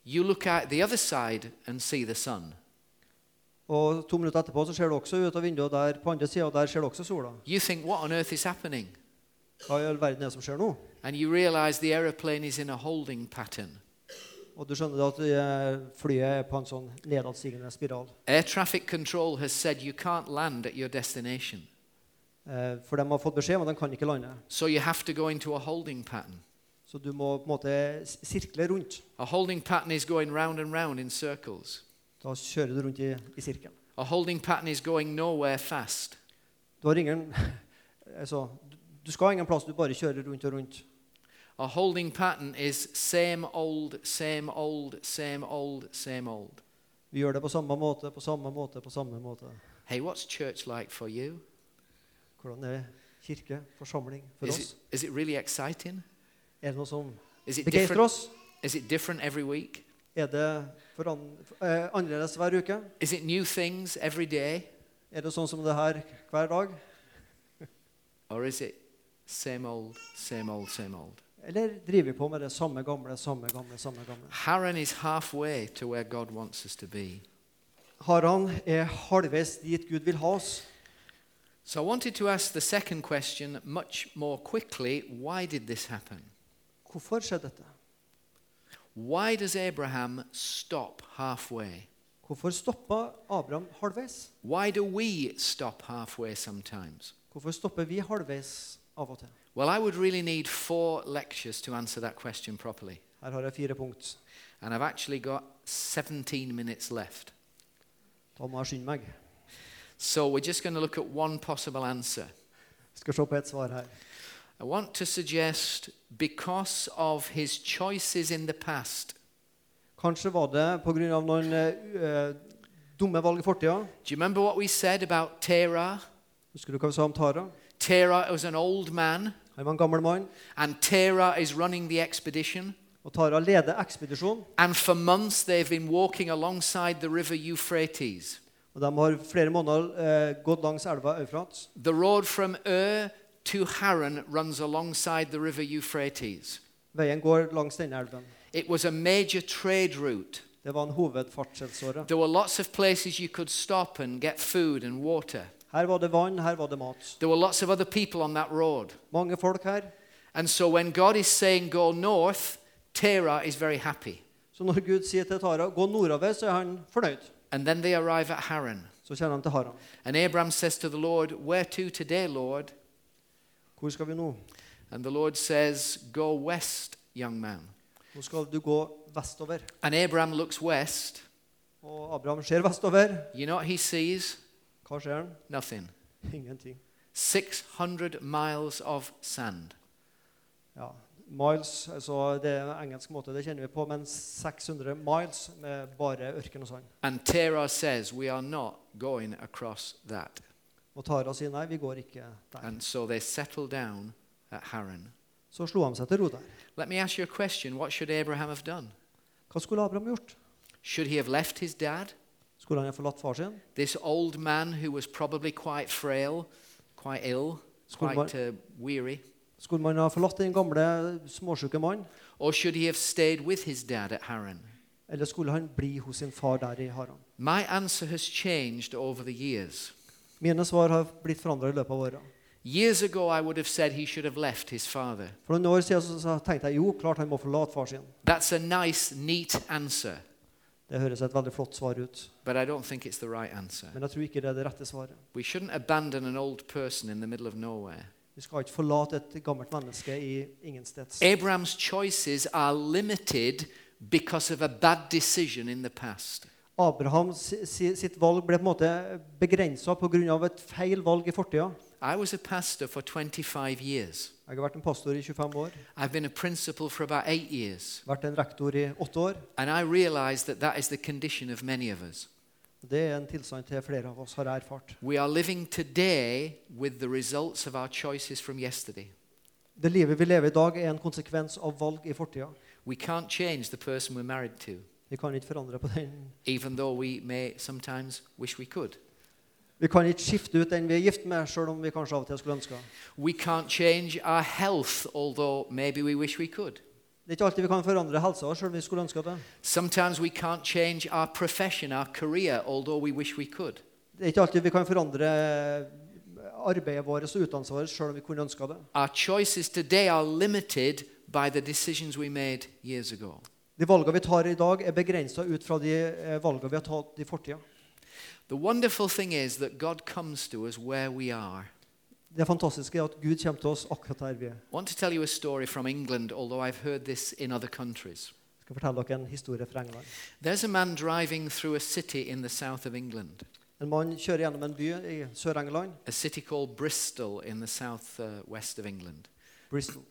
S2: you look out the other side and see the sun.
S1: og to minutter etterpå så ser du også ut av vinduet der på andre sida, og der ser du også sola.
S2: You think, what on earth is happening?
S1: Hva i all verden er det som skjer nå?
S2: And you realize the aeroplane is in a holding pattern.
S1: Og du skjønner da at eh, flyet er på en sånn nedadstigende spiral.
S2: Air traffic control has said you can't land at your destination.
S1: Eh, For de har fått beskjed om at de kan ikke lande.
S2: So you have to go into a holding pattern.
S1: Så du må på en måte s- sirkle rundt.
S2: A holding pattern is going round and round in circles.
S1: Da kjører du rundt i, i sirkelen.
S2: A holding pattern is going nowhere fast.
S1: Du har ingen (laughs) altså, du- Du skal ingen plass, du bare kjører rundt og rundt.
S2: A holding pattern is same old, same old, same old, same old.
S1: Vi gjør det på samme måte, på samme måte, på samme måte.
S2: Hey, what's church like for you?
S1: Hvordan er kirke, forsamling, for
S2: Is
S1: oss?
S2: it, is it really exciting?
S1: Er det noe som
S2: Is it
S1: begeistrer
S2: different?
S1: oss?
S2: Is it different every week?
S1: Er det foran, eh, annerledes hver uke?
S2: Is it new things every day?
S1: Er det sånn som det her hver dag?
S2: Or is it same old, same old, same old?
S1: Eller driver vi på med det samme gamle, samme gamle, samme gamle?
S2: Haran is halfway to where God wants us to be.
S1: Haran er halvveis dit Gud vil ha oss.
S2: So I wanted to ask the second question much more quickly. Why did this happen?
S1: Hvorfor skjedde dette?
S2: Why does Abraham stop halfway?
S1: Hvorfor stoppa Abraham halvveis?
S2: Why do we stop halfway sometimes?
S1: Hvorfor stopper vi halvveis av og til?
S2: Well, I would really need four lectures to answer that question properly.
S1: Her har jeg fire punkt.
S2: And I've actually got 17 minutes left.
S1: Da må jeg skynde meg.
S2: So we're just going to look at one possible answer.
S1: Skal se på et svar her.
S2: I want to suggest because of his choices in the past.
S1: Kanskje var det pga. noen eh, u- eh, dumme valg i fortida.
S2: Do you remember what we said about Terah?
S1: Husker du hva vi sa om Tara?
S2: Terah was an old man,
S1: Han var en gammel mann.
S2: and Terah is running the expedition.
S1: Og Tara leder ekspedisjonen.
S2: And for months they've been walking alongside the river Euphrates.
S1: Og de har flere måneder eh, gått langs elva Eufrat.
S2: The road from Ur to Haran runs alongside the river Euphrates.
S1: Veien går langs denne elven.
S2: It was a major trade route.
S1: Det var en hovedfartselsåre.
S2: There were lots of places you could stop and get food and water.
S1: Her var det vann, her var det mat.
S2: There were lots of other people on that road.
S1: Mange folk her.
S2: And so when God is saying go north, Terah is very happy.
S1: Så når Gud sier til Tara 'gå nordover', så er han fornøyd.
S2: And then they arrive at Haran.
S1: Så kjenner han til Haran.
S2: And Abram says to the Lord, Where to today, Lord?
S1: Hvor skal vi nå?
S2: And the Lord says, Go west, young man.
S1: Nå skal du gå vestover.
S2: And Abram looks west.
S1: Og Abraham ser vestover.
S2: You know what he sees?
S1: Hva ser han?
S2: Nothing.
S1: Ingenting.
S2: 600 miles of sand.
S1: Ja, Miles, altså det er en engelsk måte, det kjenner vi på, men 600 miles med bare ørken og sand.
S2: And Terah says, We are not going across that.
S1: Og Tara sier nei, vi går ikke der.
S2: And so they settle down at Haran.
S1: Så slo han seg til ro der.
S2: Let me ask you a question. What should Abraham have done?
S1: Hva skulle Abraham gjort?
S2: Should he have left his dad,
S1: Skulle han ha forlatt far sin?
S2: this old man who was probably quite frail, quite ill,
S1: Skulle man,
S2: quite uh, weary?
S1: skulle man ha forlatt den gamle, småsjuke mannen?
S2: Or should he have stayed with his dad at Haran?
S1: Eller skulle han bli hos sin far der i Haran?
S2: My answer has changed over the years.
S1: Mine svar har blitt forandra i løpet av åra.
S2: Years ago, I would have said he should have left his father.
S1: For noen år siden så, så tenkte jeg jo, klart han må forlate far sin.
S2: That's a nice, neat answer.
S1: Det Det høres et veldig flott svar ut,
S2: but I don't think it's the right answer.
S1: men jeg tror ikke det er det rette svaret.
S2: We shouldn't abandon an old person in the middle of nowhere.
S1: Vi skal ikke forlate et gammelt menneske i ingensteds.
S2: Abraham's choices are limited because of a bad decision in the past.
S1: Abraham si- si- sitt valg ble på en måte begrensa pga. et feil valg i fortida.
S2: I was a pastor for 25 years.
S1: Jeg har vært en pastor i 25 år,
S2: I've been a principal for about eight years.
S1: vært en rektor i åtte år.
S2: And I realize that that is the condition of many of us.
S1: Det er en tilstand til flere av oss har erfart.
S2: We are living today with the results of our choices from yesterday.
S1: Det livet vi lever i dag, er en konsekvens av valg i fortida.
S2: We can't change the person we're married to,
S1: Vi kan ikke forandre på den.
S2: even though we may sometimes wish we could.
S1: Vi kan ikke skifte ut den vi er gift med, sjøl om vi kanskje av og til skulle ønske.
S2: We can't change our health, although maybe we wish we could.
S1: Det er ikke alltid vi kan forandre helsa sjøl om vi skulle ønske det.
S2: Sometimes we can't change our profession, our career, although we wish we could.
S1: Det er ikke alltid vi kan forandre arbeidet vårt og utdannelsen vår sjøl om vi kunne ønske det.
S2: Our choices today are limited by the decisions we made years ago.
S1: De valgene vi tar i dag, er begrensa ut fra de eh, valgene vi har tatt i fortida.
S2: The wonderful thing is that God comes to us where we are.
S1: Det fantastiske er at Gud kommer til oss akkurat der vi er.
S2: I want to tell you a story from England, although I've heard this in other countries.
S1: Jeg skal fortelle dere en historie fra England.
S2: There's a man driving through a city in the south of England,
S1: En mann kjører gjennom en by i Sør-England,
S2: a city called Bristol in the south uh, west of England.
S1: Bristol.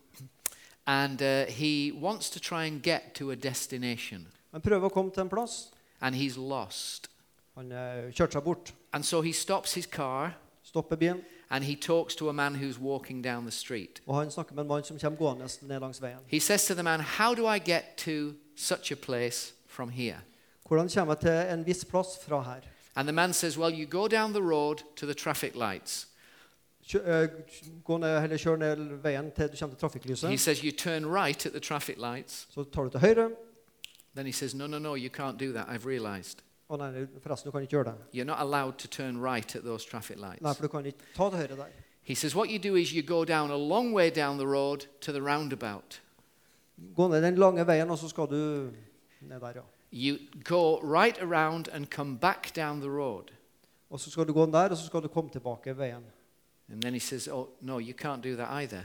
S2: And uh, he wants to try and get to a destination,
S1: Han prøver å komme til en plass.
S2: and he's lost.
S1: Han eh, kjørte seg bort,
S2: And so he stops his car
S1: stopper bilen,
S2: and he talks to a man who's walking down the street.
S1: og han snakker med en mann som kommer gående ned langs veien.
S2: He says to the man, How do I get to such a place from here?
S1: Hvordan kommer jeg til en viss plass fra her?
S2: And the man says, Well, you go down the road to the traffic lights.
S1: Kjø, eh, gå ned, eller kjør ned veien til du kommer til
S2: He
S1: trafikklyset.
S2: says, You turn right at the traffic lights.
S1: Så tar du til høyre.
S2: Then he says, No, no, no, you can't do that. I've realized.
S1: Å nei, forresten, du kan ikke gjøre det.
S2: You're not allowed to turn right at those traffic lights.
S1: Nei, for du kan ikke ta til høyre der.
S2: He says, What you do is you go down a long way down the road to the roundabout.
S1: Gå ned den lange veien, og så skal du ned der, ja.
S2: You go right around and come back down the road.
S1: Og så skal du gå der, og så skal du komme tilbake veien.
S2: And then he says, Oh, no, you can't do that either.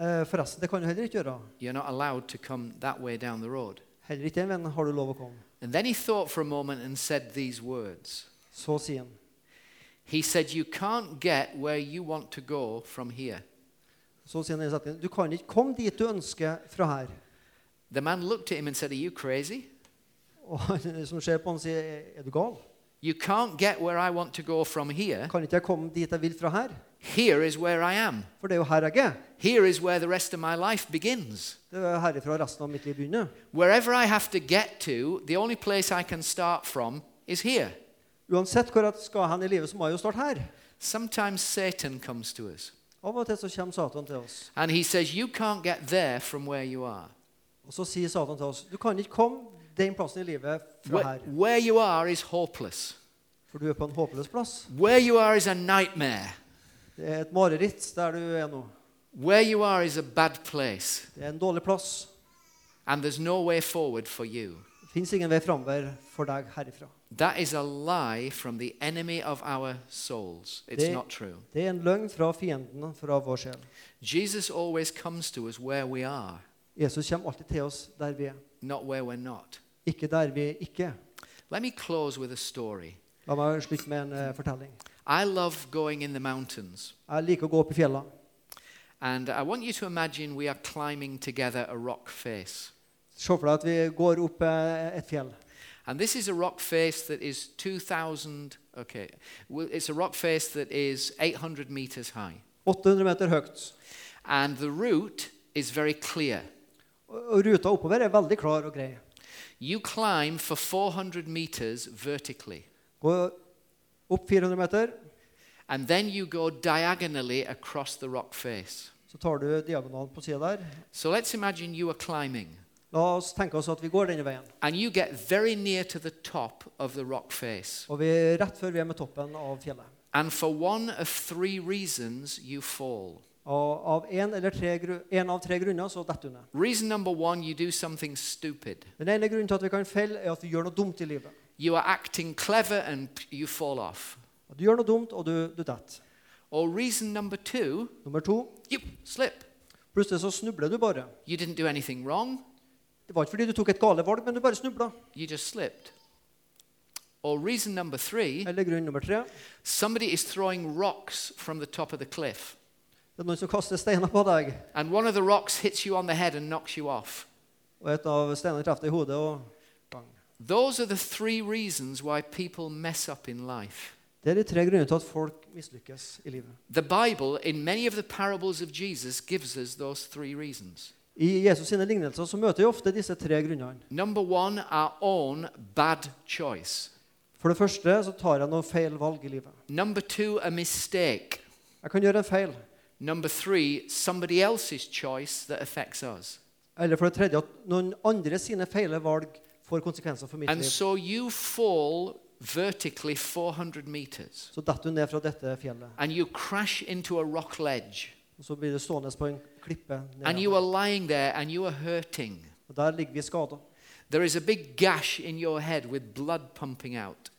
S1: Eh, forresten, det kan du heller ikke gjøre.
S2: You're not allowed to come that way down the road.
S1: Heller ikke den veien har du lov å komme.
S2: And then he thought for a moment and said these words
S1: Så sier han.
S2: He said, You can't get where you want to go from here.
S1: Så sier han i setningen, du kan ikke komme dit du ønsker fra her.
S2: The man looked at him and said, Are you crazy?
S1: Og han som ser på han sier, er du gal?
S2: You can't get where I want to go from here.
S1: Kan ikke jeg komme dit jeg vil fra her?
S2: Here is where I am.
S1: For det er jo her jeg er.
S2: Here is where the rest of my life begins.
S1: Det er herifra resten av mitt liv begynner.
S2: Wherever I have to get to, the only place I can start from is here.
S1: Uansett hvor jeg skal hen i livet, så må jeg jo starte her.
S2: Sometimes Satan comes to us
S1: Av og til så kommer Satan til oss.
S2: and he says, You can't get there from where you are.
S1: Og så sier Satan til oss, du kan ikke komme den plassen i livet fra
S2: Where,
S1: her.
S2: where you are is hopeless.
S1: For du er på en håpløs plass.
S2: Where you are is a nightmare.
S1: Det er et mareritt der du er nå.
S2: Where you are is a bad place.
S1: Det er en dårlig plass.
S2: And there's no way forward for you.
S1: Det finnes ingen vei framover for deg herifra.
S2: That is a lie from the enemy of our souls. It's
S1: They-
S2: not true.
S1: Det er en løgn fra fienden, fra vår sjel.
S2: Jesus always comes to us where we are,
S1: Jesus kommer alltid til oss der vi er,
S2: not where we're not.
S1: ikke der vi ikke er.
S2: Let me close with a story.
S1: La meg slutte med en eh, fortelling.
S2: I love going in the mountains.
S1: Jeg liker å gå opp i fjellene.
S2: And I want you to imagine we are climbing together a rock face.
S1: Se for deg at vi går opp eh, et fjell.
S2: And this is a rock face that is 2,000, okay, well, it's a rock face that is 800 meters high.
S1: 800 meter høyt.
S2: And the route is very clear.
S1: Og og ruta oppover er veldig klar og grei.
S2: You climb for 400 meters vertically,
S1: Gå opp 400 meter,
S2: and then you go diagonally across the rock face.
S1: så tar du diagonalen på sida der.
S2: So let's imagine you are climbing,
S1: La oss tenke oss at vi går denne veien.
S2: and you get very near to the top of the rock face.
S1: Og vi rett før vi er med toppen av fjellet.
S2: And for one of three reasons, you fall.
S1: Og av én eller tre, gru- en av tre grunner så detter hun ned.
S2: Reason number one you do something stupid.
S1: Den ene grunnen til at vi kan felle, er at vi gjør noe dumt i livet.
S2: You are acting clever and p- you fall off.
S1: At Du gjør noe dumt, og du, du detter.
S2: Or reason number two,
S1: Nummer to
S2: you slip.
S1: plutselig så snubler du bare.
S2: You didn't do anything wrong,
S1: Det var ikke fordi du tok et gale valg, men du bare snubla.
S2: you just slipped. Or reason number three,
S1: Eller grunn nummer tre.
S2: somebody is throwing rocks from the top of the cliff.
S1: Det er noen som kaster steiner på deg,
S2: And one of the rocks hits you on the head and knocks you off.
S1: og et av steinene treffer deg i hodet, og bang.
S2: Those are the three reasons why people mess up in life.
S1: Det er de tre grunnene til at folk mislykkes i livet.
S2: The Bible, in many of the parables of Jesus, gives us those three reasons.
S1: I Jesus sine lignelser så møter vi ofte disse tre grunnene.
S2: Number one, our own bad choice.
S1: For det første så tar jeg noen feil valg i livet.
S2: Number two, a mistake.
S1: Jeg kan gjøre en feil.
S2: Number three, somebody else's choice that affects us.
S1: Eller for det tredje at noen andre sine feile valg får konsekvenser for mitt
S2: And
S1: liv.
S2: so you fall vertically 400 meters
S1: Så detter du ned fra dette fjellet.
S2: and you crash into a rock ledge
S1: Og så blir du stående på en klippe.
S2: and
S1: ned.
S2: you are lying there and you are hurting.
S1: Og der ligger vi skada.
S2: There is a big gash in your head with blood pumping out.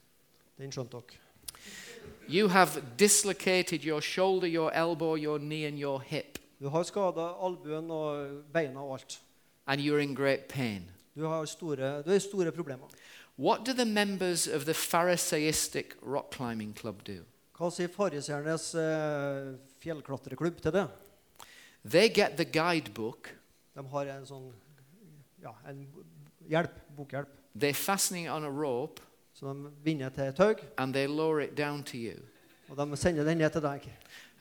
S1: Den skjønte dere.
S2: You have dislocated your shoulder, your elbow, your knee, and your hip,
S1: Du har skada albuen og beina og alt.
S2: and you're in great pain.
S1: Du har store, du har store problemer.
S2: What do the members of the Pharisaistic rock climbing club do?
S1: Hva sier fariseernes eh, fjellklatreklubb til det?
S2: They get the guidebook,
S1: De har en sånn ja, en hjelp, bokhjelp,
S2: they fasten it on a rope,
S1: som de binder til et tau.
S2: and they lower it down to you.
S1: Og de sender den ned til deg.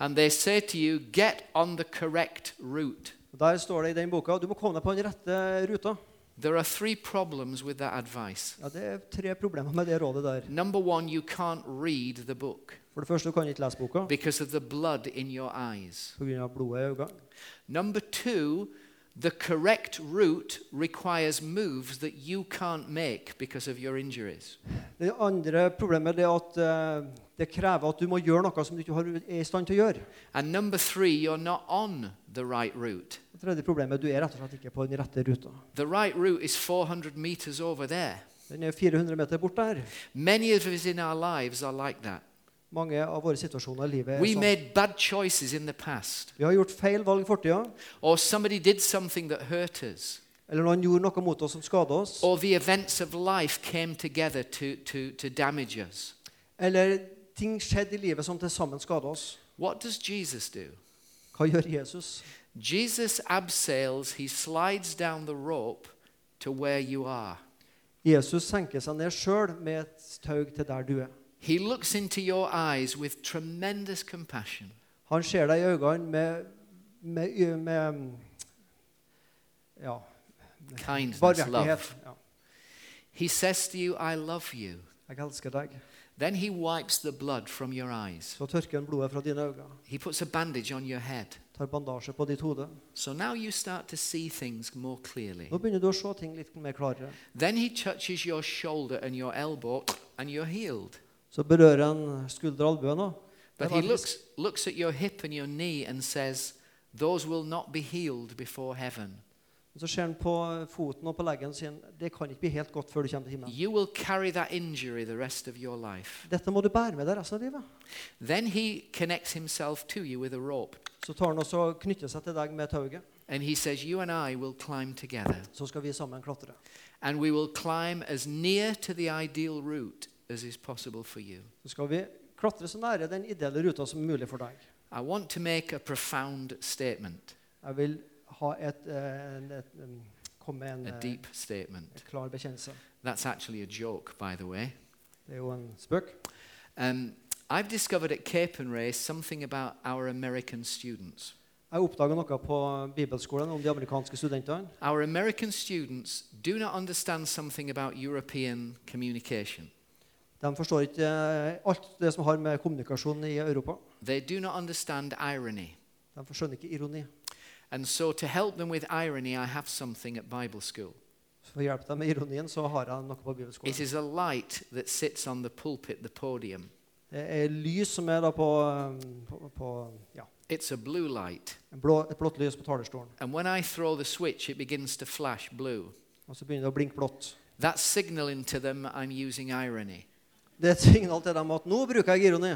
S2: And they say to you, get on the correct route.
S1: Og Der står det i den boka du må komme deg på den rette ruta.
S2: There are three problems with that advice.
S1: Ja, Det er tre problemer med det rådet der.
S2: Number one, you can't read the book
S1: For det første, du kan ikke lese boka
S2: because of the blood in your eyes.
S1: pga. blodet i øynene.
S2: Number two, the correct route requires moves that you can't make because of your injuries.
S1: Det andre problemet det er at eh, det krever at du må gjøre noe som du ikke har, er i stand til å gjøre.
S2: And number three, you're not on the right route.
S1: Det tredje problemet du er rett og slett ikke på den rette ruta.
S2: The right route is 400 meters over there.
S1: Den er 400 meter bort der.
S2: Many of us in our lives are like that.
S1: Mange av våre situasjoner i livet er
S2: We
S1: sånn.
S2: made bad choices in the past,
S1: Vi har gjort feil valg i fortida,
S2: or somebody did something that hurt us,
S1: eller noen gjorde noe mot oss som skada oss.
S2: or the events of life came together to, to, to damage us.
S1: Eller ting skjedde i livet som til sammen skada oss.
S2: What does Jesus do?
S1: Hva gjør Jesus?
S2: Jesus abseils, he slides down the rope to where you are.
S1: Jesus senker seg ned sjøl med et tau til der du er.
S2: He looks into your eyes with tremendous compassion
S1: Han ser deg i øynene med, med, med ja,
S2: kindness,
S1: barmhjertighet.
S2: love.
S1: Ja,
S2: He says to you, I love you.
S1: jeg elsker deg.
S2: Then he wipes the blood from your eyes.
S1: Så tørker han blodet fra dine øyne,
S2: He puts a bandage on your head.
S1: tar bandasje på ditt hode.
S2: So now you start to see things more clearly.
S1: Nå begynner du å se ting litt mer klarere.
S2: Then he touches your shoulder and your elbow, and you're healed.
S1: Så berører han skulder og albuen òg.
S2: But he looks, looks at your hip and your knee and says, Those will not be healed before heaven.
S1: Så ser han på foten og på leggen og sier han, det kan ikke bli helt godt før du kommer til himmelen.
S2: You will carry that injury the rest of your life.
S1: Dette må du bære med deg resten av livet.
S2: Then he connects himself to you with a rope
S1: Så tar han også og knytter seg til deg med tauet.
S2: and he says, You and I will climb together
S1: Så skal vi sammen klatre.
S2: and we will climb as near to the ideal route as is possible for you.
S1: Så skal vi klatre så nære den ideelle ruta som er mulig for deg.
S2: I want to make a profound statement,
S1: Jeg vil ha et, eh, en- et, em, komme med en
S2: a
S1: eh,
S2: deep statement.
S1: et klar bekjennelse.
S2: That's actually a joke, by the way.
S1: Det er jo en spøk.
S2: Um, I've discovered at Capenray something about our American students.
S1: Jeg oppdaga noe på bibelskolen om de amerikanske studentene.
S2: Our American students do not understand something about European communication.
S1: De forstår ikke eh, alt det som har med kommunikasjon i Europa.
S2: They do not understand irony.
S1: De skjønner ikke ironi.
S2: And so, to help them with irony, I have something at Bible school.
S1: Så For å hjelpe deg med ironien så har jeg noe på
S2: It
S1: bibelskolen.
S2: is a light that sits on the pulpit, the podium.
S1: Det er lys som er da på, eh, på, på ja,
S2: It's a blue light.
S1: En blå, et blått lys på talerstolen.
S2: And when I throw the switch, it begins to flash blue.
S1: Og så begynner det å blinke blått.
S2: That's signaling to them that I'm using irony.
S1: Det er et signal til dem at nå bruker jeg ironi.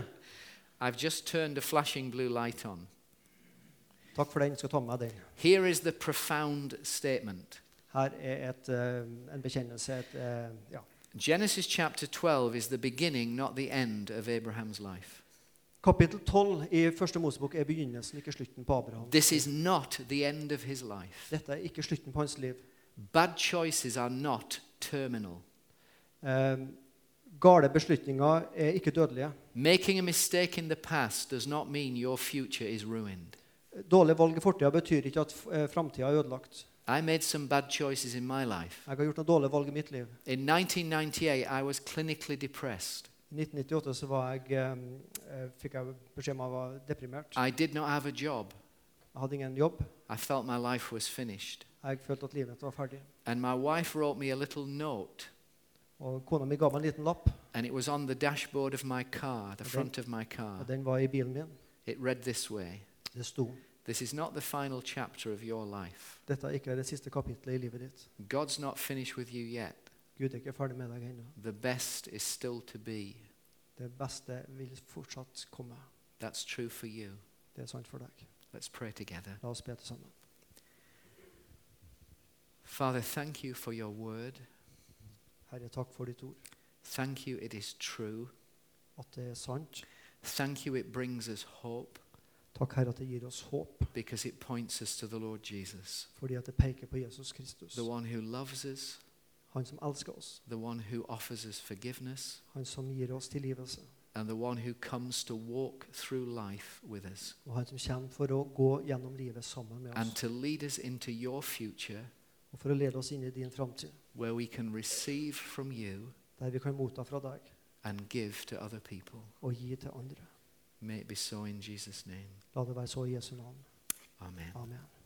S2: I've just turned a flashing blue light on.
S1: Takk for den. Skal ta med meg den.
S2: Here is the profound statement
S1: Her er et, eh, en bekjennelse. Et, eh, ja.
S2: Genesis chapter 12 is the beginning, not the end, of Abraham's life.
S1: Kapittel 12 i første Mosebok er begynnelsen, ikke slutten på Abraham.
S2: This is not the end of his life.
S1: Dette er ikke slutten på hans liv.
S2: Bad choices are not terminal.
S1: Eh, gale beslutninger er ikke dødelige.
S2: Making a mistake in the past does not mean your future is ruined.
S1: Dårlige valg i fortida betyr ikke at uh, framtida er ødelagt.
S2: I made some bad choices in my life.
S1: Jeg har gjort noen dårlige valg i mitt liv.
S2: In 1998, I was clinically depressed.
S1: I 1998 så var jeg, eh, eh, fikk jeg beskjed om at jeg var deprimert.
S2: I did not have a job.
S1: Jeg hadde ingen jobb.
S2: I felt my life was finished.
S1: Jeg følte at livet mitt var ferdig.
S2: And my wife wrote me a little note,
S1: Og kona mi ga meg en liten lapp,
S2: and it was on the dashboard of my car,
S1: Okay.
S2: the front of my car.
S1: og den var i bilen min.
S2: It read this way
S1: Det sto
S2: This is not the final chapter of your life.
S1: dette er ikke det siste kapitlet i livet ditt.
S2: God's not finished with you yet.
S1: Gud er ikke ferdig med deg ennå.
S2: The best is still to be.
S1: Det beste vil fortsatt komme.
S2: That's true for you.
S1: Det er sant for deg.
S2: Let's pray together.
S1: La oss be til sammen.
S2: Father, thank you for your word.
S1: Herre, takk for ditt ord.
S2: Thank you, it is true.
S1: At det er sant.
S2: Thank you, it brings us hope
S1: Takk, Herre, at det gir oss håp.
S2: because it points us to the Lord Jesus,
S1: Fordi at det peker på Jesus Kristus.
S2: the one who loves us,
S1: Han som elsker oss.
S2: the one who offers us forgiveness,
S1: Han som gir oss tilgivelse.
S2: and the one who comes to walk through life with us
S1: Og han som kommer for å gå gjennom livet sammen med
S2: and
S1: oss.
S2: to lead us into your future
S1: Og for å lede oss inn i din framtid.
S2: where we can receive from you
S1: Der vi kan motta fra deg
S2: and give to other people.
S1: og gi til andre.
S2: May it be so in Jesus' name.
S1: La det være så i Jesu navn.
S2: Amen.
S1: Amen.